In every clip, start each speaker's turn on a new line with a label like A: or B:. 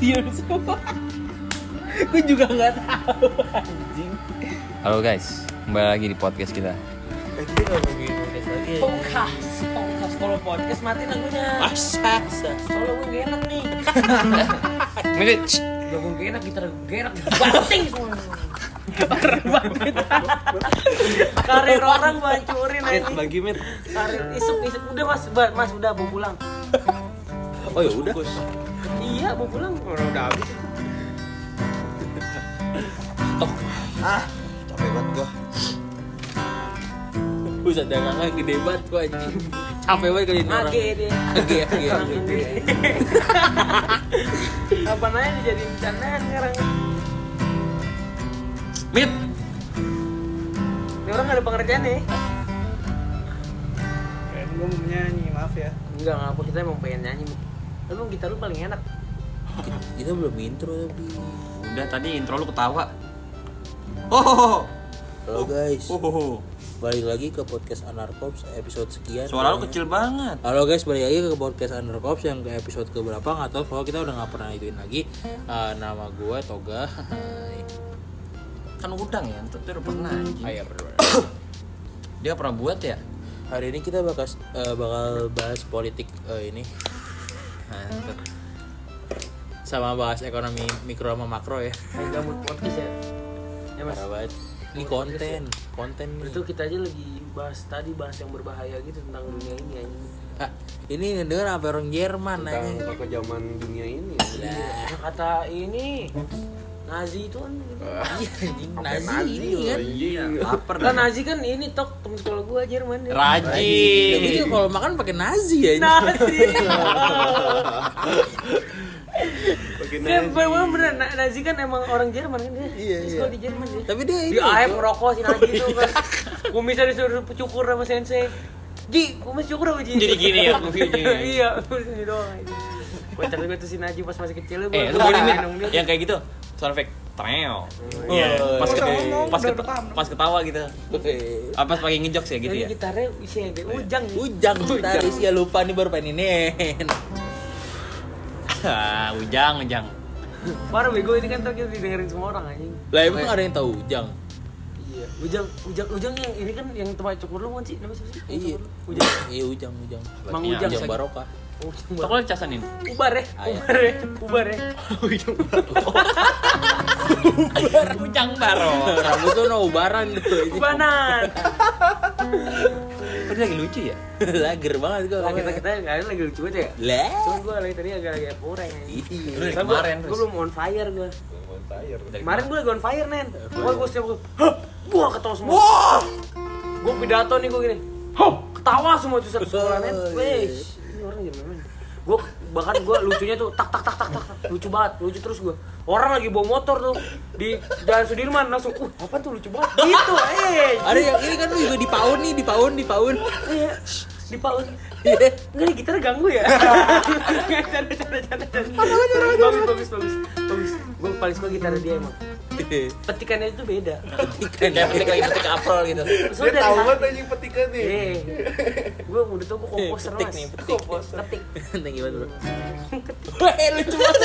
A: Diam semua. Gue juga nggak tahu anjing.
B: Halo guys, kembali lagi di podcast kita.
A: Eh, kita nggak mau bikin podcast lagi. ya.
C: Pongkas.
A: Pongkas kalau podcast matiin lagunya.
C: Masa?
A: Soalnya gue nggak enak nih.
B: Minit.
A: Gak gue nggak enak, gitar gue nggak enak, banting semua.
C: Karir orang gua hancurin
A: Mit,
C: anjing.
A: bagi mit.
C: Karir isep isep. Udah mas, ba- mas udah mau pulang.
A: Oh ya udah.
C: Iya mau pulang.
A: Orang udah habis.
D: capek banget gua
A: Buset dagangan gede banget gue anjing. Capek banget kali ini orang.
C: Age deh.
A: Age, age.
C: Orang gede. Apa nanya dijadiin bercanda sekarang?
A: Mit,
C: Ini orang nggak ada pengerjaan nih.
D: keren gua mau nyanyi maaf ya
C: Enggak ngapa kita emang pengen nyanyi. Emang gitar lu paling enak.
A: kita belum intro tapi.
B: Udah tadi intro lu ketawa. Oh,
E: Halo guys,
B: oh, oh, oh.
E: balik lagi ke podcast Anarkops episode sekian.
B: suara lu
E: Namanya.
B: kecil banget.
E: Halo guys, balik lagi ke podcast Anarkops yang ke episode keberapa nggak tahu soalnya kita udah nggak pernah ituin lagi. Eh, nama gue Toga.
B: Kan udang ya, itu udah pernah anjing.
E: Ayo berdua.
B: Dia pernah buat ya?
E: Hari ini kita bakal eh, bakal bahas politik eh, ini
B: Mantep.
E: sama bahas ekonomi mikro sama makro ya.
C: Kayak gabut podcast ya. Ya mas.
E: Parah banget. Ini konten, konten nih.
C: Itu kita aja lagi bahas tadi bahas yang berbahaya gitu tentang dunia ini anjing.
E: Ah, ini yang denger apa orang Jerman
D: tentang
E: anjing.
D: kekejaman dunia ini
C: Nah, kata ini Nazi itu kan gitu.
E: Iya, anjing. Nazi ini kan.
B: Laper
C: Lah Nazi iya. kan ini tok teman sekolah gua Jerman ya.
E: Ya, gua juga
B: Rajin.
E: kalau makan pakai Nazi ya. ini.
C: Nazi.
D: Pakai
C: Dia memang bener Na- Nazi kan emang orang Jerman kan dia.
E: Iya,
C: Di
E: iya.
C: sekolah di Jerman dia. "Iya,
E: Tapi dia
C: Di
E: itu.
C: AF merokok si Nazi itu kan. Kumisnya disuruh cukur sama sensei. Ji, kumis cukur apa Ji?
B: Jadi gini ya, kumisnya.
C: Iya, kumisnya gini doang. Gue cari gue tuh si Naji pas masih kecil
B: Eh, lu boleh Mit, yang kayak gitu. Suara fake. Treo. Iya, pas
D: Udah
B: ketawa,
D: ngomong,
B: pas,
D: udah
B: ketawa,
D: paham.
B: pas ketawa gitu.
E: Eh,
B: Apa pas pakai ngejok sih gitu
C: Jadi
B: ya?
C: gitarnya isinya kayak ujang. Ji.
E: Ujang gitaris ya lupa nih baru peninin.
B: Ah, ujang, ujang.
C: Parah bego ini kan tuh kita didengerin semua orang anjing.
E: Lah emang ada yang tahu Ujang?
C: Iya, Ujang, Ujang, Ujang yang ini kan yang tempat cukur lu kan sih? Namanya siapa sih? Yang
E: Iya.
C: cukur lu? Ujang.
E: Iya Ujang Ujang.
C: Mang
B: Iya,
C: Ujang.
E: Ujang Barokah.
C: Ujang
B: Tok
C: Bar-
B: lu casanin.
C: Ubar ya,
E: Ah, iya.
C: Ubar ya, Ubar ya.
B: Ujang baro.
E: Rambut tuh no ubaran tuh.
C: Ubanan.
B: Kok dia lagi lucu ya?
E: Lager banget gua.
C: Lah kita kita nggak ada lagi lucu aja ya.
E: Lah.
C: Cuman gue lagi tadi agak-agak kurang ya.
E: Iya.
B: Lu dari
C: Soalnya
B: kemarin
C: gue
B: terus.
C: belum on fire gue.
B: Dari
C: Kemarin gue lagi on fire nen. Gue gue setiap gue, gue ketawa semua. Gue pidato nih gue gini. Hah, ketawa semua tuh satu sekolah nen.
E: Oh, iya.
C: Wes, ini orang gimana? Gue bahkan gue lucunya tuh tak tak tak tak tak tak. lucu banget, lucu terus gue. Orang lagi bawa motor tuh di Jalan Sudirman langsung, uh apa tuh lucu banget gitu, eh,
E: Ada yang ini kan lu juga di paun nih, di paun, di paun.
C: iya, di paus.
E: Iya.
C: Enggak nih gitar ganggu ya. Enggak, Canda canda canda canda. Bagus bagus bagus bagus. Gue paling suka gitar dia emang. Petikannya itu beda.
E: Petikan.
B: Kayak petik lagi petik aprol gitu.
D: dia
C: Soalnya
D: tahu
C: dari
D: banget anjing petikan nih
C: Eh, gue udah tau gue komposer
E: Iya, Petik
C: mas.
E: nih, petik.
C: komposer. Petik.
E: Thank you banget, Bro. Weh, Eh, lucu banget.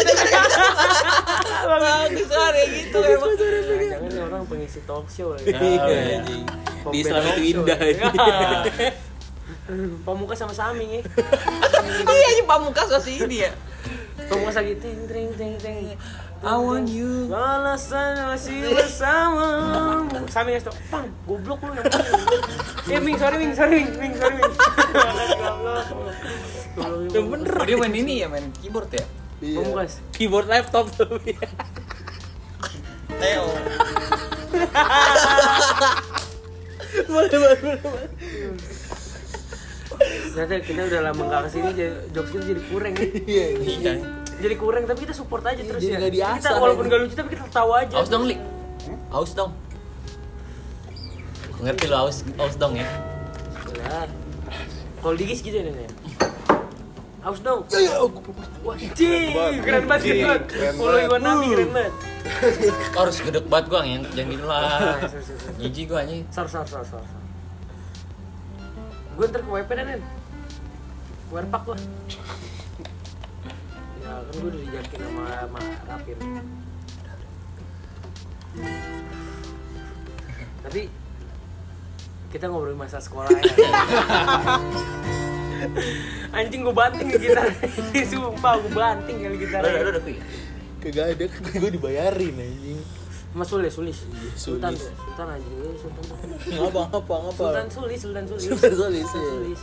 E: Bagus kayak gitu emang.
C: Nah, jangan nih orang pengisi talk show ya. lagi.
E: Iya, anjing. Di Islam itu indah. iya. anjing.
C: Pamuka ya. sama Sami ya.
E: Iya, ini pamukas masih ini ya.
C: Pamuka lagi ting ting ting ting.
B: I want you.
C: Balasan masih bersamamu. Sami ngasih tau, pang, goblok lu namanya. Eh, Ming, sorry Ming, sorry Ming, Ming, sorry Ming. Goblok. Goblok.
E: Yang bener.
B: Oh, dia main ini ya, main keyboard ya?
C: Pamukas.
E: Keyboard laptop tuh.
B: Teo.
E: Boleh, boleh, boleh.
C: Ternyata kita udah lama gak kesini, jadi jokes kita jadi kurang ya.
E: Iya.
B: Iya.
C: Jadi kurang, tapi kita support aja terus ya.
E: jadi nggak diasah,
C: Kita walaupun
E: ini.
C: gak lucu, tapi kita tawa aja.
B: Aus dong, Li. Aus dong. Gua Ngerti lu aus, aus dong ya?
C: Benar. Kalau digis gitu ya, Nen, ya. Aus dong. Wah, cing, keren banget
D: Iya, Cing,
C: gitu.
D: keren
C: Follow
D: banget.
C: Iwan Nabi, keren banget.
B: Kau harus gedek banget gua ngin, jangan gitu
D: Nah,
B: lah. Jijik gua anjing.
C: Sar, sar, sar, sar. Gue ntar ke WP dah, Nen. Warpak gua. Ya Nah, kan gue udah dijakin sama, sama Rapin. Tapi kita ngobrolin masa sekolah ya. Anjing gue banting nih gitar. Sumpah gue banting kali gitar.
B: Lu udah lu udah kuy.
E: Kagak ada, gue dibayarin anjing.
C: Mas Sulis, Sulis. Sultan,
E: Sulis.
C: Sultan anjing, Sultan.
E: Ngapa ngapa ngapa?
C: Sultan Sulis, Sultan Sulis.
E: Sultan Sulis,
C: Sultan
E: iya.
C: Sulis.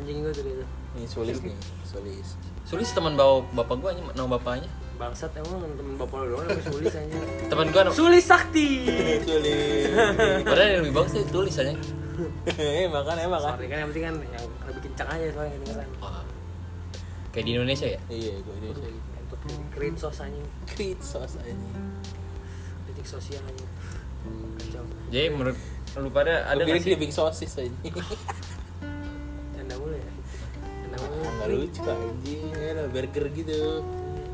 C: Anjing gue tuh gitu.
E: Nih solis nih, solis.
B: Sulis teman bawa bapak gua aja, nama bapaknya.
C: Bangsat emang temen bapak lo doang namanya Sulis anjing.
B: Teman gua nama
C: Sulis Sakti.
E: Solis.
B: padahal yang lebih bagus sih tulis aja.
E: Eh, makan eh makan.
C: Sorry kan yang penting kan yang lebih kencang aja soalnya kedengeran.
B: Wah. Ah. Kayak di Indonesia ya?
E: Iya, gue ini
C: Untuk krim sos anjing,
E: krit sos ini.
C: kritik sosial anjing. Kacau.
B: Jadi menurut lu pada ada
E: Ada
B: nggak sih?
E: keripik sosis aja.
C: Canda mulu ya. Canda mulu.
E: Enggak lucu anjing, ya lah, burger gitu.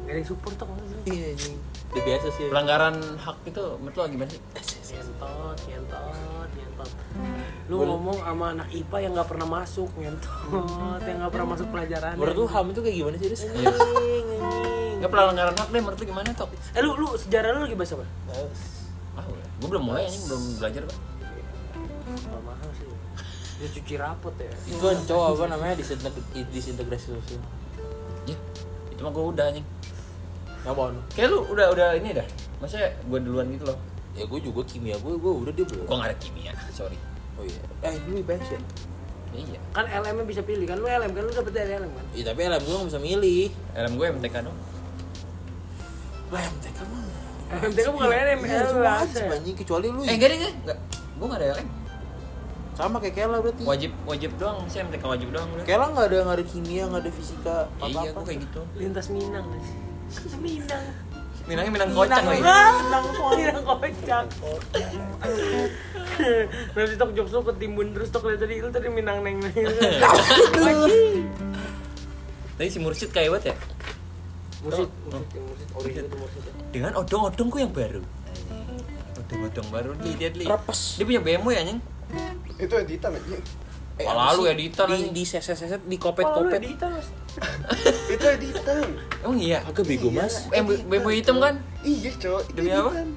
C: Gak ada yang support tuh kalau lu.
E: Iya anjing. Udah biasa sih.
B: pelanggaran hak itu menurut lu gimana sih?
C: Nyentot, nyentot, nyentot. Lu ngomong sama anak IPA yang gak pernah masuk, nyentot, yang gak pernah masuk pelajaran.
E: Menurut lu HAM itu kayak gimana sih, Riz?
B: Iya.
C: Anjing, anjing.
B: Enggak pelanggaran hak deh menurut lu gimana tok?
C: Eh lu lu sejarah lu lagi bahas apa?
B: Ah, udah. gua belum mulai anjing belum belajar, Pak.
C: Gak mahal sih. Dia cuci rapot ya.
E: Itu kan cowok apa namanya disinteg- disintegrasi sosial.
B: Ya. Itu mah gua udah anjing.
E: Ya mohon.
B: Kayak lu udah udah ini dah. Maksudnya gua duluan gitu loh.
E: Ya gue juga kimia gue, gue udah dia belum.
B: Gua nggak ada kimia, sorry.
E: Oh iya. Eh, lu IPS ya?
B: Iya.
C: Kan LM -nya bisa pilih kan lu LM kan lu dapet dari LM kan.
E: Iya, tapi LM gue gak bisa milih.
B: LM gue MTK dong.
E: Lah, MTK mah.
C: LM kan bukan LM,
E: Iya,
C: LM
E: itu
C: bahasa.
E: wajib anjing kecuali lu.
B: Eh, enggak deh, enggak. Enggak. Gua nggak ada LM.
E: Sama kayak Kela berarti.
B: Wajib wajib doang sih MTK wajib doang udah.
E: Kela nggak ada nggak ada kimia nggak ada fisika
B: Ya, iya, gua kayak gitu.
C: Lintas Minang. guys. Minang.
B: Minangnya Minang kocak
C: Minang
B: lagi.
C: kocak. Ah! Minang kocak. Nanti tok jokes lu ketimbun terus tok lihat tadi lu tadi Minang neng neng.
B: Tadi si Mursid kayak banget ya.
C: Musik, musik, musik, ori Oh, iya, itu ya. musik.
B: Dengan odong-odongku yang baru. Odong-odong baru nih dia Li.
E: Rapes.
B: Dia punya BMW anjing.
D: Itu editan ya?
E: Eh,
B: Pala
E: apa
B: lu
E: sih?
B: editan
E: di,
B: anjing.
E: di seset seset di
C: Pet
E: kopet
C: kopet.
E: kopet.
D: Itu editan.
B: Emang iya.
E: Agak bego mas.
B: Eh, B- BMW hitam kan?
D: Iya, cowok. Itu
B: Demi apa?
D: editan.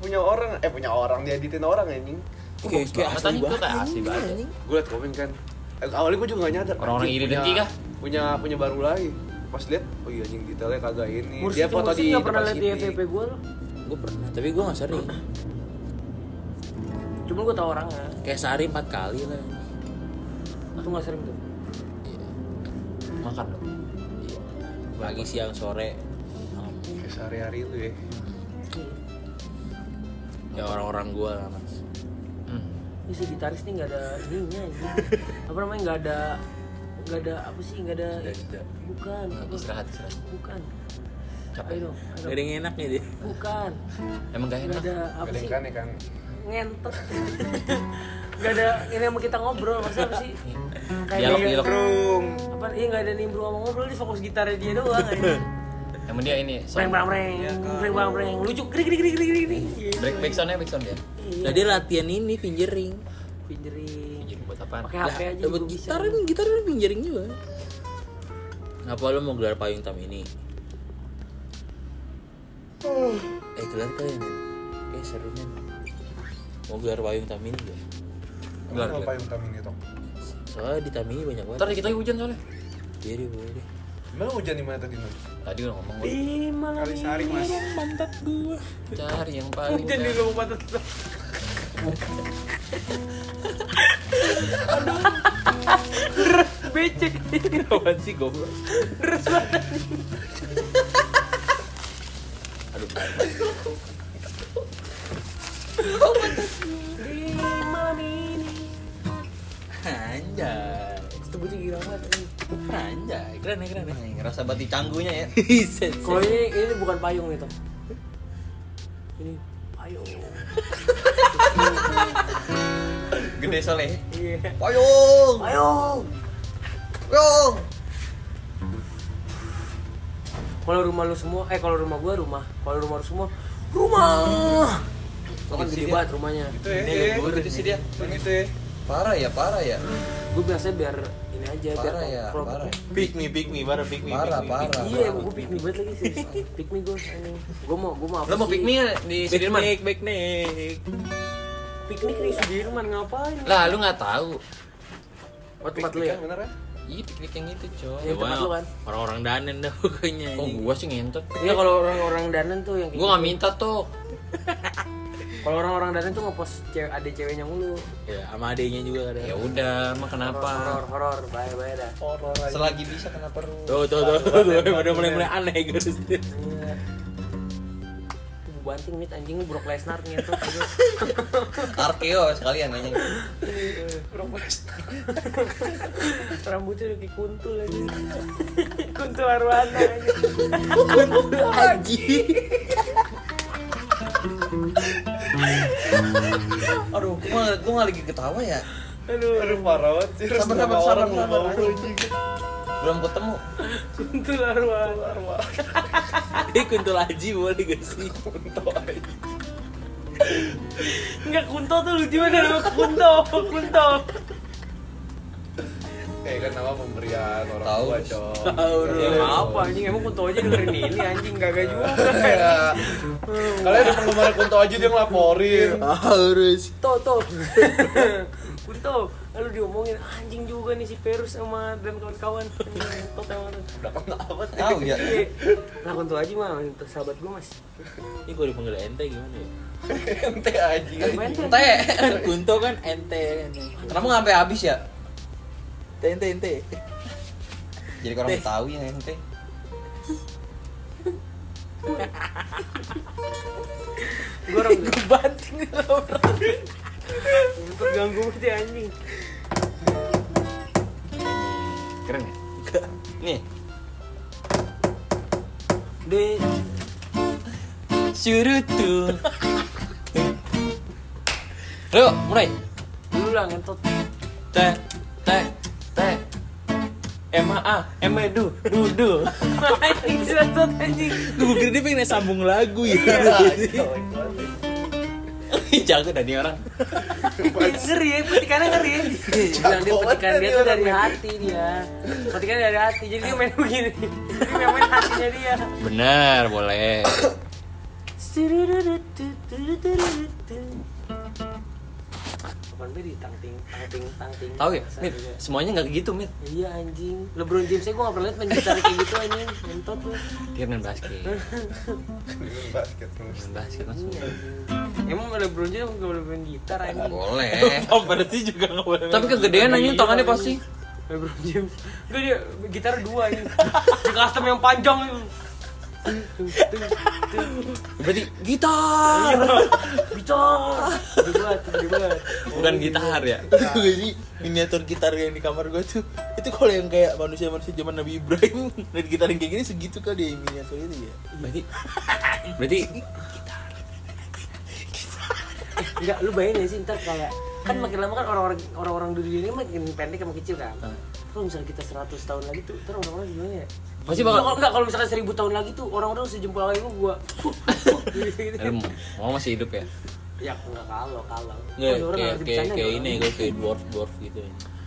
D: Punya orang, eh punya orang dieditin orang anjing.
E: Kayak kayak asli
B: banget, anjing. Itu kayak
E: banget.
B: asli
E: anjing,
B: banget.
E: anjing.
D: Gue liat komen kan. Eh, Awalnya gue juga gak nyadar.
B: Orang-orang
D: anjing,
B: iri
D: punya-
B: dengki kah?
D: Punya punya baru lagi. Pas liat, oh iya anjing detailnya kagak ini.
C: Mursid tuh Mursid nggak pernah lihat di
D: situ.
C: FVP gue loh.
E: Gue pernah, tapi gue nggak sering.
C: Cuma gue tau orangnya.
E: Kayak sehari empat kali lah.
C: Itu nggak sering tuh.
E: Iya.
B: Makan dong.
E: iya. Pagi siang sore.
D: Kayak sehari-hari lu ya.
C: Iya.
E: Ya orang-orang gue lah mas.
B: Hmm.
C: Ini si gitaris nih nggak ada ininya anjing. Apa namanya nggak ada nggak ada apa sih nggak ada
E: Sudah, sudah.
C: bukan
B: Nah, Istirahat, istirahat.
C: bukan
B: Capek.
C: ayo dong, ayo
E: Gak
C: dong.
E: ada yang enak nih dia.
C: bukan
B: Emang gak
C: nggak
B: enak.
C: ada apa
D: Kadang
C: sih
D: kan ya kan.
C: ngentot nggak ada ini yang mau kita ngobrol maksudnya apa sih kayak
B: Dialog,
C: dia-
B: dialog.
C: apa iya nggak ada nimbrung sama ngobrol dia fokus gitarnya dia doang aja
B: Emang dia ini.
C: breng
B: Sound.
C: breng breng breng breng breng lucu gering gering gering gering gering
B: Break back soundnya back sound dia.
E: Nah dia latihan ini pinjering.
C: pinjering
B: Jadi buat apaan?
C: pakai hp aja
E: Dapat
C: juga bisa
E: gitar ini gitar ini pinjering juga. Apa lo mau gelar payung tam ini? Eh gelar kali ya men. Kayak seru men. Mau gelar payung tam ini ya? gak?
B: Gelar,
D: Emang
B: gelar.
D: Ngapain gitu? utam ini Tok?
E: Soalnya di tam ini banyak banget.
B: Ntar dikit lagi hujan soalnya.
E: Iya deh boleh deh.
D: Emang hujan di mana tadi Noy?
B: Tadi udah ngomong gua.
C: di malam
D: Kali sehari mas.
E: Mantap gua.
B: Cari yang paling.
C: hujan di
B: enak.
C: rumah pantat kita Aduh. becek
E: Apaan sih goblok?
C: Oh, di malam ini
E: Anjay.
C: itu bocah gila banget ini.
E: Anjay. Keren ya keren ya.
B: Nih, Ngerasa bati canggunya ya.
E: Set, set.
C: Kalau ini ini bukan payung itu. Ini payung.
B: Gede soalnya.
C: Iya.
B: Payung.
C: Payung.
B: Payung.
C: Kalau rumah lu semua, eh kalau rumah gua rumah. Kalau rumah lu semua, rumah. Lo kan gede banget rumahnya.
D: Itu ya.
B: Ini
D: iya.
B: yang gue gitu sih dia.
D: Yang itu ya.
B: Parah ya, parah ya.
C: Gue biasanya biar ini aja biar
F: Parah ya,
C: kalau-
F: parah.
A: Pick me, pick me, baru pick me. pick
F: Parah,
A: me.
F: parah.
C: Iya, gue pikmi banget lagi sih. Pikmi gue anjing. Gue mau gue mau apa
B: Lo mau
C: sih?
B: piknik nggak di Sudirman?
E: Piknik, piknik.
C: Piknik di Sudirman ngapain?
B: Lah, lu nggak tahu.
C: Oh, tempat lu ya.
D: Bener ya?
B: Iya, piknik yang itu, coy.
F: Ya,
C: Yang tempat lu kan.
E: Orang-orang danen dah pokoknya.
B: Kok
E: ini.
B: gua sih ngentot?
C: Iya kalau orang-orang danan tuh yang kayak
B: Gua nggak minta tuh.
C: gitu. Kalau orang-orang danan tuh ngepost cewek ada ceweknya mulu.
E: Ya, sama adiknya juga
B: Ya
E: kadang.
B: udah, emang kenapa?
C: Horor horor bye bye dah.
F: Selagi bisa kenapa perlu?
E: Tuh, tuh, tuh, tuh, tuh, udah mulai mulai aneh gitu.
C: Iya. Gua banting mit anjing lu Brock Lesnar nih gitu. tuh.
F: Arkeo sekalian aja.
C: Rambutnya udah kayak kuntul aja. kuntul arwana aja.
F: Aduh, gua nggak- gua nggak lagi ketawa ya.
D: Aduh parah banget sih.
F: Sabar, sabar, sabar, sabar, anjing. Belum ketemu.
C: Kuntul arwana.
E: Ini kuntul aji boleh gak sih?
C: Enggak kunto tuh lucu banget nama kunto. Kunto.
D: Eh kan nama pemberian orang
F: Tahu.
D: tua cowok.
E: Tahu,
F: Iya,
C: Ya apa anjing emang kunto aja dengerin ini anjing kagak juga.
D: Iya. Kalian ada penggemar Kunto aja dia ngelaporin.
E: Iya. Harus.
C: Kunto tuh. Kunto, lalu diomongin anjing juga nih si Perus sama dan kawan-kawan. Kunto sama lu.
F: Tahu ya.
C: Iya. Lah kunto aja mah untuk sahabat gue Mas.
E: Ini kalau dipanggil ente gimana ya?
D: Ente aja.
C: Main tuh.
F: Teh.
E: Kan kunto kan ente. ente.
F: Kenapa nggak sampai habis ya?
E: Ente, ente, ente.
F: Jadi kurang tahu ya ente.
C: Gue orang gue banting lah. Untuk ganggu banget ya, anjing.
B: Keren ya? Nih,
C: Deh,
B: surut tuh. Ayo, mulai.
C: dulu lah ngentot.
B: Teh, teh, teh. M A M Du, Du Du.
C: Anjing ngentot anjing.
E: Gue kira dia pengen sambung lagu ya.
B: Jago dah nih orang.
C: Ngeri ya, petikannya ngeri. Bilang dia petikan dia tuh dari hati dia. Petikannya dari hati. Jadi dia main begini. Dia main, main hatinya dia.
B: Bener, boleh.
C: Kapan beri tang ting tang ting tang ting.
B: Tahu ya, Mit, semuanya nggak gitu, Mit.
C: Iya anjing. LeBron James gue gak pernah liat main gitar kayak gitu anjing. Ngentot lu.
B: Dia main basket.
D: Basket.
B: Main basket langsung.
C: Iya, anjing. Emang LeBron James gak boleh main gitar anjing.
F: Boleh.
E: Oh, berarti juga gak boleh.
B: Tapi kegedean anjing tangannya pasti.
C: LeBron Eh, James. Enggak dia gitar dua anjing. Di custom yang panjang itu.
B: Berarti gitar.
C: Bicara. Gede banget, gede banget.
B: Bukan gitar ya.
E: Itu gue sih miniatur gitar yang di kamar gue tuh itu kalau yang kayak manusia-manusia zaman Nabi Ibrahim dan gitar yang kayak gini segitu kali ya miniatur itu ya.
B: Berarti berarti
C: Enggak, lu bayangin gak sih ntar kayak kan makin lama kan orang-orang orang-orang dunia ini makin pendek sama kecil kan. Kalau misalnya kita 100 tahun lagi tuh, terus orang-orang gimana ya?
B: Pasti bakal-
C: Enggak, enggak kalau misalnya 1000 tahun lagi tuh orang-orang sejempol lagi gua. gua. Gitu-gitu.
B: Aduh, mau masih hidup ya?
C: ya enggak kalau kalau.
E: Nggak,
C: Kalau orang
E: kayak
C: lagi
E: kayak
C: bercanda
E: kayak
C: ya
E: ini
C: orang.
E: gue kayak dwarf dwarf gitu.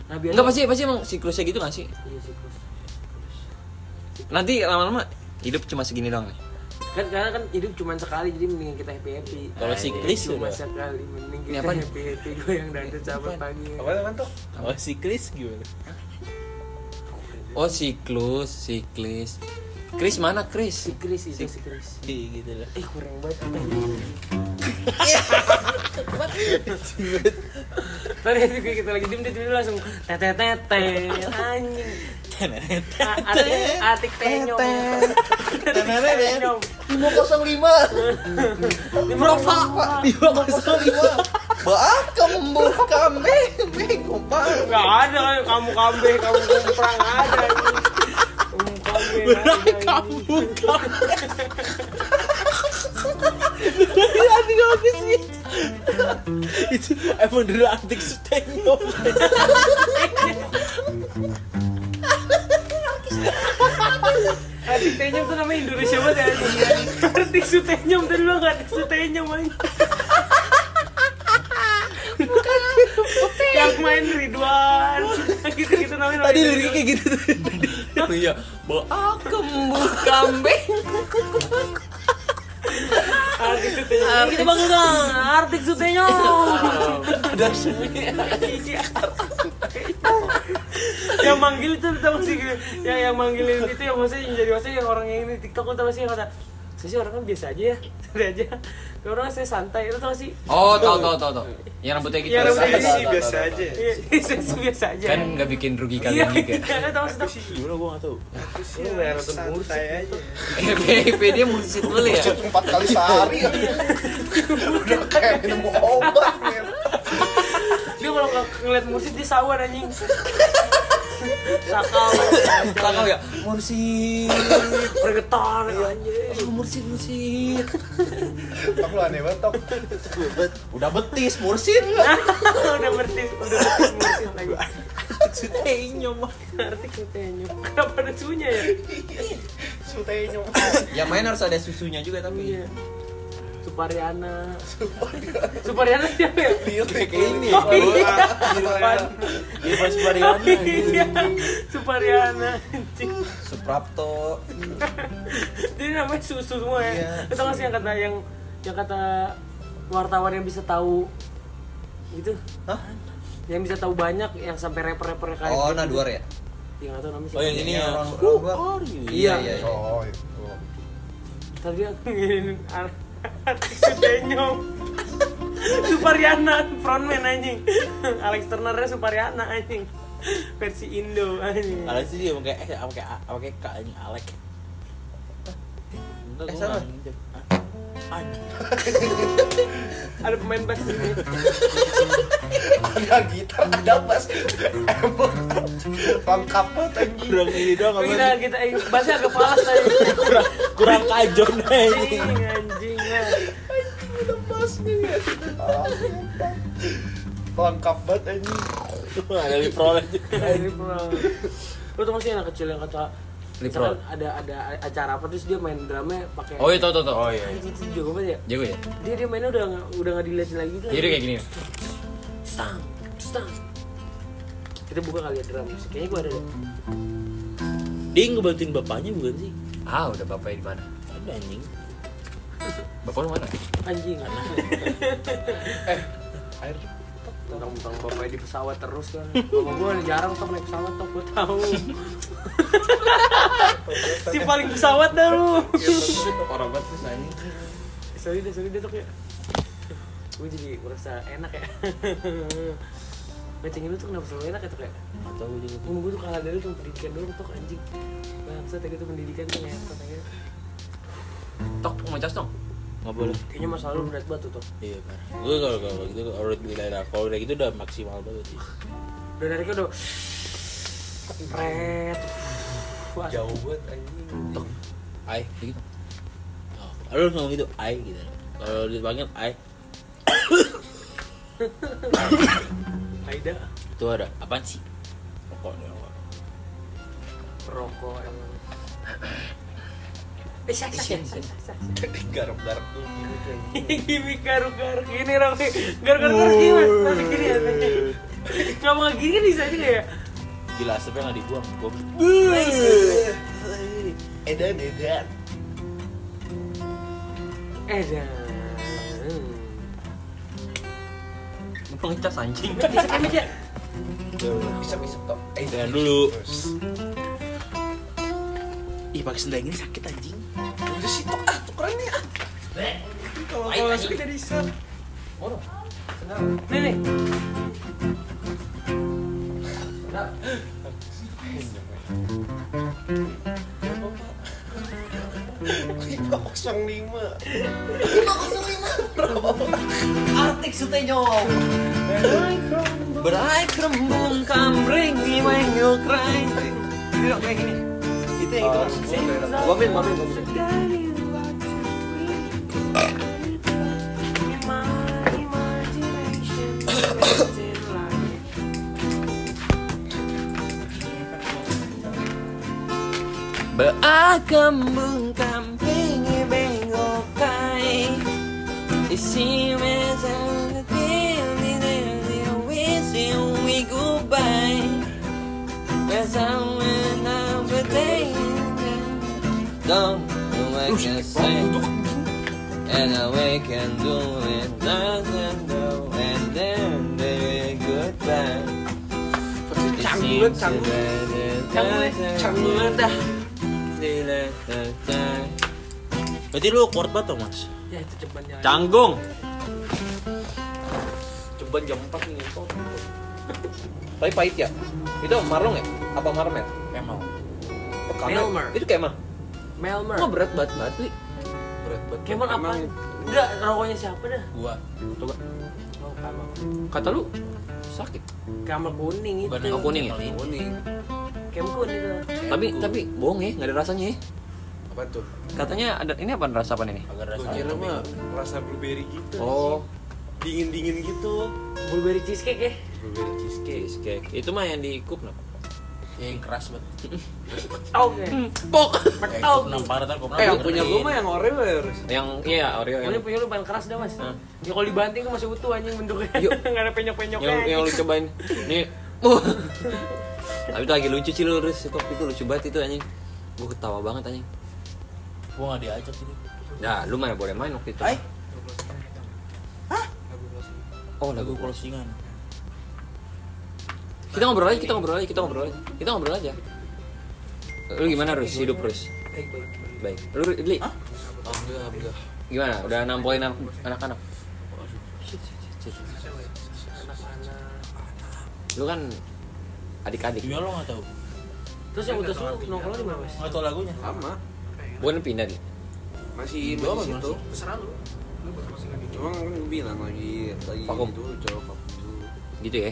C: Nah, biasa.
B: Enggak pasti pasti emang siklusnya gitu gak sih?
C: Iya sih, Kus.
B: Nanti lama-lama hidup cuma segini doang nih.
C: kan karena kan hidup cuma sekali jadi mendingan kita happy happy Iya,
E: Kalau siklis
C: cuma
E: udah.
C: sekali mending
B: Ini
C: kita
B: apaan?
C: happy happy gue yang dandan cabut pagi
D: Apa kan tuh?
E: Oh si Chris gimana?
B: Oh, siklus, siklis. Chris mana Chris?
C: sikris itu sikris
E: Di gitu lah.
C: eh kurang banget tadi itu kayak ya, kita lagi diem dia tiba-tiba langsung tetetete anjing A- atik- atik tenyom atik tenyom
F: Lima kosong lima.
C: berapa
F: Lima kosong lima. Bakam mbok kambing, kumpang.
C: nggak ada kan kamu kambing kamu kumprang ada anjing. kamu kambing ada, anjing.
E: itu emang dulu antik stenyo.
C: Adik tenyum tuh namanya Indonesia banget ya anjing. Adik sutenyum tadi lo nggak adik sutenyum anjing. Bukan. Ya yang main Ridwan gitu-gitu namanya
E: Tadi liriknya kayak gitu tuh.
B: Iya, bawa kembung kambing.
C: artik sutenya kita panggil kang artik sutenya
B: Ada semuanya.
C: yang manggil itu tau sih gitu yang yang manggilin itu yang maksudnya yang jadi maksudnya yang orang yang ini tiktok tuh tau sih yang kata saya sih orangnya biasa aja ya santai aja orangnya saya santai itu tau sih
B: Oh, tau tau tau tau. Yang rambutnya gitu.
C: Iya, rambutnya
F: Biasa
C: gitu.
F: sih, biasa aja.
C: Iya, saya sih biasa aja
B: Kan nggak bikin rugi
C: iya
B: kalian juga.
C: iya tau sih tau sih
E: Gimana gua enggak tahu.
F: Lu bayar santai aja.
B: PIP dia mursid mulu ya.
F: Empat kali sehari. Udah kayak minum obat. men.
C: dia kalau nggak ngeliat musik dia sawan anjing sakal
B: Takau ya, mursid.
C: pergetar anjing
B: Mursid mursid.
F: Tok lu aneh banget, Tok.
E: Udah betis, mursin.
C: udah bertis udah bertis musik lagi artik sutenyo kenapa ada sunya ya
F: Sutenyo.
B: Yang Ya, main harus ada susunya juga tapi.
C: iya Supariana Supariana siapa ya?
E: Kayak ini.
C: Oh iya
F: Gila.
E: Dia pas Mariana gitu.
C: Iya Supariana anjing.
B: Suprapto.
C: Jadi namanya susu semua ya Itu nggak sih yang kata yang Yang kata wartawan yang bisa tahu Gitu
E: Hah?
C: Yang bisa tahu banyak Yang sampai rapper-rapper kayak
B: Oh,
C: gitu.
B: Naduar ya?
C: Iya nggak tahu namanya
E: Oh yang
C: siapa.
E: ini
B: Iya,
E: ya.
B: orang-
E: Who
B: orang-
E: are you?
B: Iya, iya. iya.
F: Oh, itu.
C: Tadi dia ngirimin ar- artis Sudenyo Supariana frontman anjing Alex Turner nya Supariana anjing versi Indo anjing
E: Alex itu dia pakai eh pakai A, pakai K ini Alex. Enggak
B: Eh,
E: gua
B: salah.
E: nggak nginjek. Ah, anjing.
C: ada pemain bass di sini
F: Ada gitar, ada bass. Emang lengkap banget anjing.
E: Kurang ini doang apa?
C: kita kita eh, bassnya agak palas tadi
E: Kurang kurang kajon eh,
C: anjing
E: anjing.
C: anjing ah.
F: iya. Lengkap banget anjing.
E: Wah, Ada liprolet juga.
C: Ini pro. lu tau gak sih anak kecil yang kata
B: Liberal.
C: misalkan ada ada acara apa terus dia main drumnya pakai
B: Oh iya tau tau tau.
E: Oh iya.
C: Anjing, itu jago banget ya
B: Jago ya.
C: dia dia mainnya udah nggak- udah nggak diliatin lagi gitu
B: Jadi kayak gini.
C: stang stang kita buka kali ya drum kayaknya gua ada deh
E: Dia ngebantuin bapaknya bukan sih?
B: Ah, udah bapaknya di mana?
E: Ada anjing.
B: Bapak lu mana?
C: anjing Eh, tentang bapaknya di pesawat terus kan mama gua jarang tuh naik pesawat tuh gua tahu si paling pesawat dah lu
E: Iya,
B: Orang banget terus anjing.
C: sorry deh sorry deh tuh ya gua jadi merasa enak ya Ngecengin lu tuh kenapa selalu enak ya tuh kayak
E: Atau gua juga.
C: Emang gue tuh kalah dari lu cuma pendidikan doang tuh anjing Bangsa tadi tuh pendidikan tuh ngetot aja
B: Tok mau cas dong.
E: Enggak boleh.
C: Kayaknya masalah lu berat banget tuh Tok.
E: Iya, parah. Gue kalau kalau gitu kalau udah gila kalau udah gitu udah maksimal banget sih.
C: Udah dari udah Red Wah,
F: Jauh banget anjing.
E: Ai, gitu. Oh, lu harus ngomong gitu, ai gitu. Kalau dipanggil ai,
C: Aida
E: itu ada apa sih? Rokok nih, rokok.
C: Rokok emang Eh, syak, syak, syak, syak, syak, syak.
F: Garap-garap dulu gitu anjing.
C: Gini garuk-garuk gini Rofi Garuk-garuk harus gimana? Masih gini ya Rofi? Nggak mau gini kan bisa aja nggak ya?
E: Gila, asapnya nggak dibuang, gue Eh,
F: Edan, edan.
C: Eh dah
B: Mau ngecas anjing.
C: Bisa kan aja
F: Bisa bisa tok.
E: Jangan dulu.
F: Terus.
E: Ih, pakai sendal ini sakit anjing.
F: Udah sih tok ah, tukeran nih ah.
C: Kalau kalau suka jadi set
B: Waduh.
C: Oh, Nih nih
F: Lima kosong lima.
B: Artik sutenyo. Berai kerembung kamring di main nyukrai. Jadi dong kayak gini. Itu
C: Ah,
B: yang itu. Mas. Gua ambil, gua ambil, gua ambil. Beakembung kambing bengok kai Isi mesa kini dari wisi time when I'm a day Don't know what I can say And I we can do it Doesn't know And then baby goodbye It seems that it doesn't
C: dah
B: really matter.
E: Berarti lu kuat banget dong, Mas.
C: ya itu cebannya
E: Canggung.
C: ceban jam 4 nih kok
B: Tapi pahit ya? Itu marlong ya? Apa marmel?
E: Emang.
C: Melmer.
B: Itu kayak mah?
C: Melmer
B: Kok berat banget banget Li?
D: Berat banget.
C: Kemon apa
D: Emang
C: enggak rokoknya siapa dah
E: Gua.
B: Coba
C: oh, kamar
B: Kata lu sakit
C: kamar kuning itu
E: Bukan
B: Oh kuning ya?
D: kuning.
C: kem kuning lah
B: Tapi tapi bohong ya, nggak ada rasanya ya
D: Apa tuh?
B: Katanya ada, ini apa rasa apa ini?
E: Agar
D: Gue
E: rasa.
D: kira mah rasa blueberry gitu.
B: Oh,
D: Dingin dingin gitu.
C: blueberry cheesecake ya
D: Blueberry cheesecake.
B: cheesecake Itu mah yang di Ikup no?
E: Yang keras banget.
C: oke
B: Pok!
E: Kayak
C: Tau.
E: gua enam parah, ntar gua pernah
D: Eh, yang punya gue
E: dengerin.
D: mah yang orange.
B: Yang, iya Oreo yang
C: Pokoknya punya lu paling keras dah mas
B: Hah?
C: Ya kalau dibanting tuh masih utuh anjing bentuknya
B: Yuk.
C: Nggak ada penyok-penyoknya
B: yang, yang lu cobain Nih Uh. Tapi itu lagi lucu sih lu, Riz Itu waktu itu lucu banget itu anjing Gue ketawa banget anjing
E: Gua enggak diajak ini.
B: Nah, lu mana boleh main waktu itu
E: Hai.
B: Oh, lagu
E: closingan.
B: Kita ngobrol aja, kita ngobrol aja, kita ngobrol aja. Kita ngobrol aja. Lu gimana, Rus? Hidup, Rus? Baik. Lu, Li?
D: Alhamdulillah, alhamdulillah.
B: Gimana? Udah nampolin anak- anak-anak? Lu kan adik-adik.
E: Iya lo enggak tahu.
C: Terus yang utus lu nongkrong di mana mas?
E: Enggak tahu lagunya.
D: Sama.
B: Bukan kan pindah nih.
D: Masih
E: Gua apa
D: masih situ.
E: masih?
D: Cuma kan gue bilang lagi lagi
B: Vakum.
D: itu coba vakum dulu.
B: Gitu ya.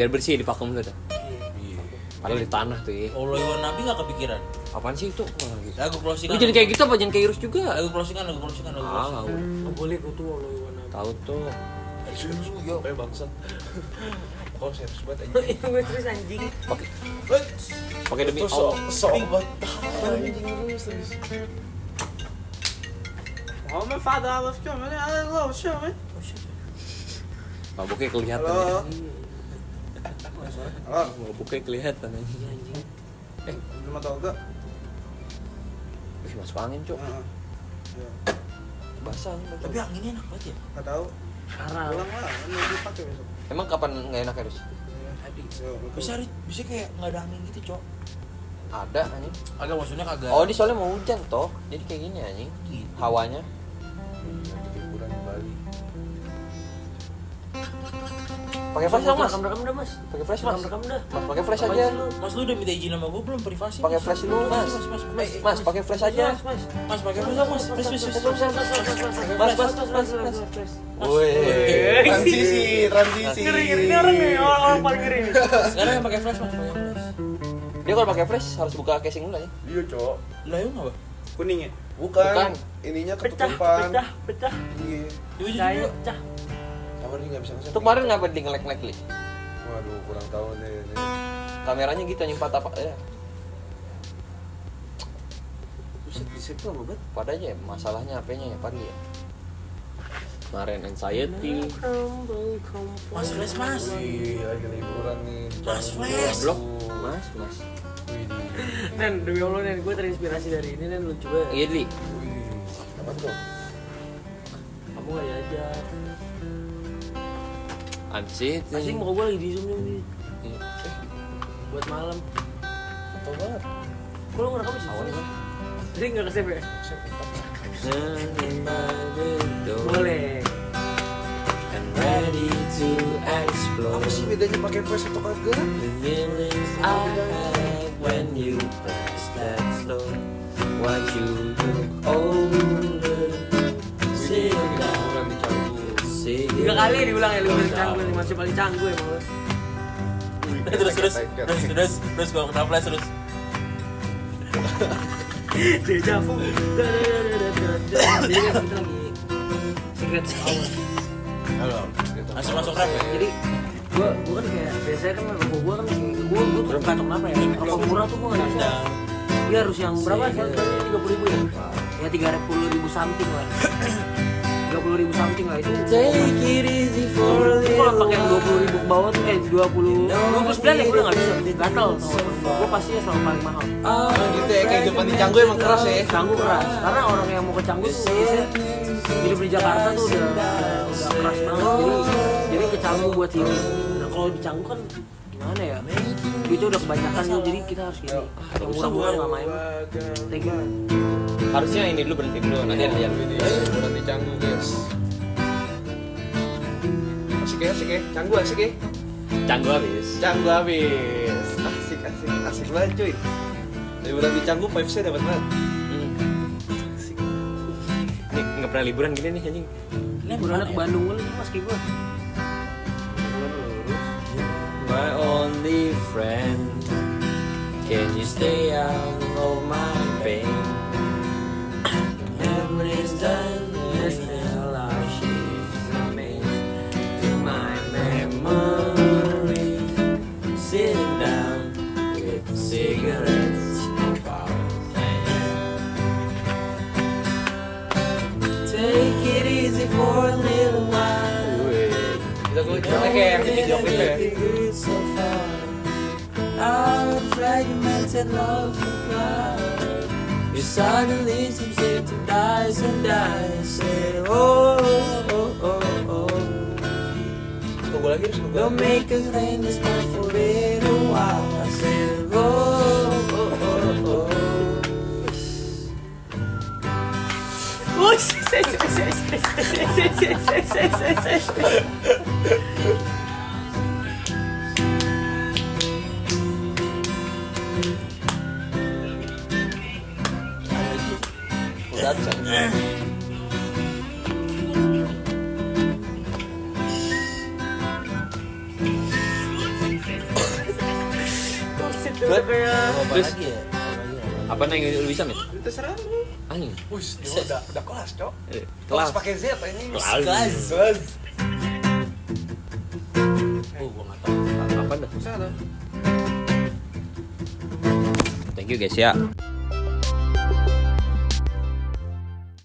B: Biar bersih di vakum lu tuh.
D: Iya.
B: Padahal di tanah tuh ya.
E: Olo Iwan Nabi enggak kepikiran.
B: Apaan sih itu? Wah, gitu.
E: Lagu
B: Lu
E: closingan.
B: jangan kayak gitu apa? Jangan kayak Rus juga.
E: Lagu closingan, lagu closingan, lagu closingan.
B: Ah,
C: Nggak boleh gua tuh lo Iwana
B: tahu tuh.
E: Aduh, yo.
D: Kayak bangsa. Kok serius banget anjing.
C: Gue terus anjing
B: Pakai demi
D: Terus so,
B: Allah.
D: so.
B: Mabuknya kelihatan. ya.
F: Halo. Halo,
B: Mabuknya kelihatan anjing.
F: lu mau tau gak?
B: Wih, masuk angin, Cuk.
F: Heeh. Iya.
B: Basah. anjing.
E: Tapi anginnya enak banget ya.
F: Gak tau.
C: Parah
F: Pulang lah, kan mau dipakai besok.
B: Emang kapan nggak enak harus?
F: Yo, lu tau.
E: Bisa Rit, bisa kayak nggak ada angin gitu, Cok.
B: Ada anjing.
E: Agak maksudnya kagak.
B: Oh, ini soalnya mau hujan toh. Jadi kayak gini anjing.
E: Gitu.
B: Hawanya.
D: Liburan di Bali.
B: Pakai flash dong, Mas.
C: Rekam-rekam dah mas
B: Pakai flash, Mas.
C: Rekam-rekam dah
B: Mas, pakai flash
C: Apaan
B: aja.
C: sih lu?
E: Mas lu udah minta izin sama gue belum privasi?
B: Pakai flash dulu, Mas.
E: Mas, mas, mas.
B: Eh, Mas, pakai flash aja.
C: Mas, mas
E: Mas, pakai flash dong, Mas. Mas, mas, mas.
C: Mas, mas, mas, mas, mas, mas, mas, mas, mas.
B: Woi.
F: Transisi, transisi.
C: Ngeri-ngeri ini orang nih, orang orang paling ngeri nih.
E: Sekarang yang pakai flash, Mas, pakai flash.
B: Dia kalau pakai flash harus buka casing dulu anjing.
F: Iya, Cok.
E: Lah, emang apa?
F: Kuning ya?
B: Bukan.
F: Bukan. Ininya
C: Pecah,
F: ketutupan.
C: pecah, pecah
F: Iya.
E: Coba jadi
C: Cair,
E: dulu.
C: pecah
F: Sabar nih nggak bisa ngeset.
B: Itu kemarin ngapa di ngelek-ngelek li?
D: Waduh, kurang tahu nih. nih.
B: Kameranya gitu anjing patah apa ya.
D: Buset, di situ lama banget.
B: Pada aja ya, masalahnya apanya ya Padli ya. Kemarin anxiety.
E: Mas flash, Mas.
D: Iya, lagi liburan nih.
E: Mas flash.
B: Blok. Mas, Mas.
D: Widih.
C: Nen, demi Allah Nen, gue terinspirasi dari ini Nen, lucu banget
B: Iya, Li.
D: Widih.
F: Apa tuh?
C: Kamu gak diajak
B: Anxiety.
C: Asing mau gue lagi di zoom nih
B: Iya. Eh,
C: Buat malam
F: Tau banget.
C: Kok lu ngerekam sih?
B: awalnya kan?
C: Jadi nggak ke save ya?
B: Boleh.
C: Boleh
B: And ready to explore
F: Apa sih bedanya pakai flash atau kagak?
B: the feelings I had when you pressed that slow. What you look older.
D: Widih,
B: Sit
D: lagi
B: down,
D: liburan di Canggu.
B: sit
C: Tiga kali diulang ya,
B: Iya.
C: lu paling canggung nih, masih paling canggung ya, emang lu.
E: Terus, terus, terus, terus, terus, kalau kena flash, terus.
C: Deja vu. Jadi kan kita lagi secret sound.
E: Halo.
D: Gitu.
E: Langsung masuk rap ya?
C: Jadi gua gua kan kayak biasanya kan kalau gua kan kayak- gua gua tuh nggak tahu kenapa ya. Kalau murah tuh gua nggak bisa.
E: Nah,
C: Iya harus yang berapa? Tiga puluh ribu ya? Ya tiga puluh ribu something lah. puluh ribu something lah itu
B: Take it easy for a
C: Itu
B: little
C: kalau pakai yang 20 ribu ke bawah tuh, eh 20 29 ya gue udah gak bisa Gatel Gue pasti ya selalu paling mahal
B: while.
F: gitu ya kehidupan di Canggu emang keras ya
C: Canggu keras Karena orang yang mau ke Canggu tuh biasanya Hidup di Jakarta tuh udah, udah keras banget Jadi, jadi ke Canggu buat hidup Nah kalau di Canggu kan gimana ya Itu udah kebanyakan tuh, jadi kita harus gini Yang murah-murah gak main Thank you
B: Harusnya ini dulu berhenti dulu, nanti ada yang
D: Ini bukan di Canggu guys. Asik ya, asik ya. Canggu asik ya.
B: canggu habis.
D: Canggu habis. Asik, asik, asik banget cuy. Liburan di Canggu vibes-nya dapat banget.
B: Ini nggak pernah liburan gini nih anjing.
C: Liburannya ke Bandung dulu mas kayak gue
B: My only friend, can you stay out of my pain? Memories done this hell are she's to my memory. Sitting down with cigarettes. Take it easy for a little while.
D: Kita tuh kita kayak yang di video klip ya.
E: Apa
B: Terus-
E: lagi ya?
B: Apa nang lu bisa, Mit?
F: terserah lu
B: Anjing.
F: wis dia udah udah kelas cok
B: Eh, Kelas.
F: kelas pakai Z ini
B: Kelas.
F: kelas
B: Oh, gua nggak tahu. Apa- Apa dah?
F: Salah.
B: Thank you guys ya.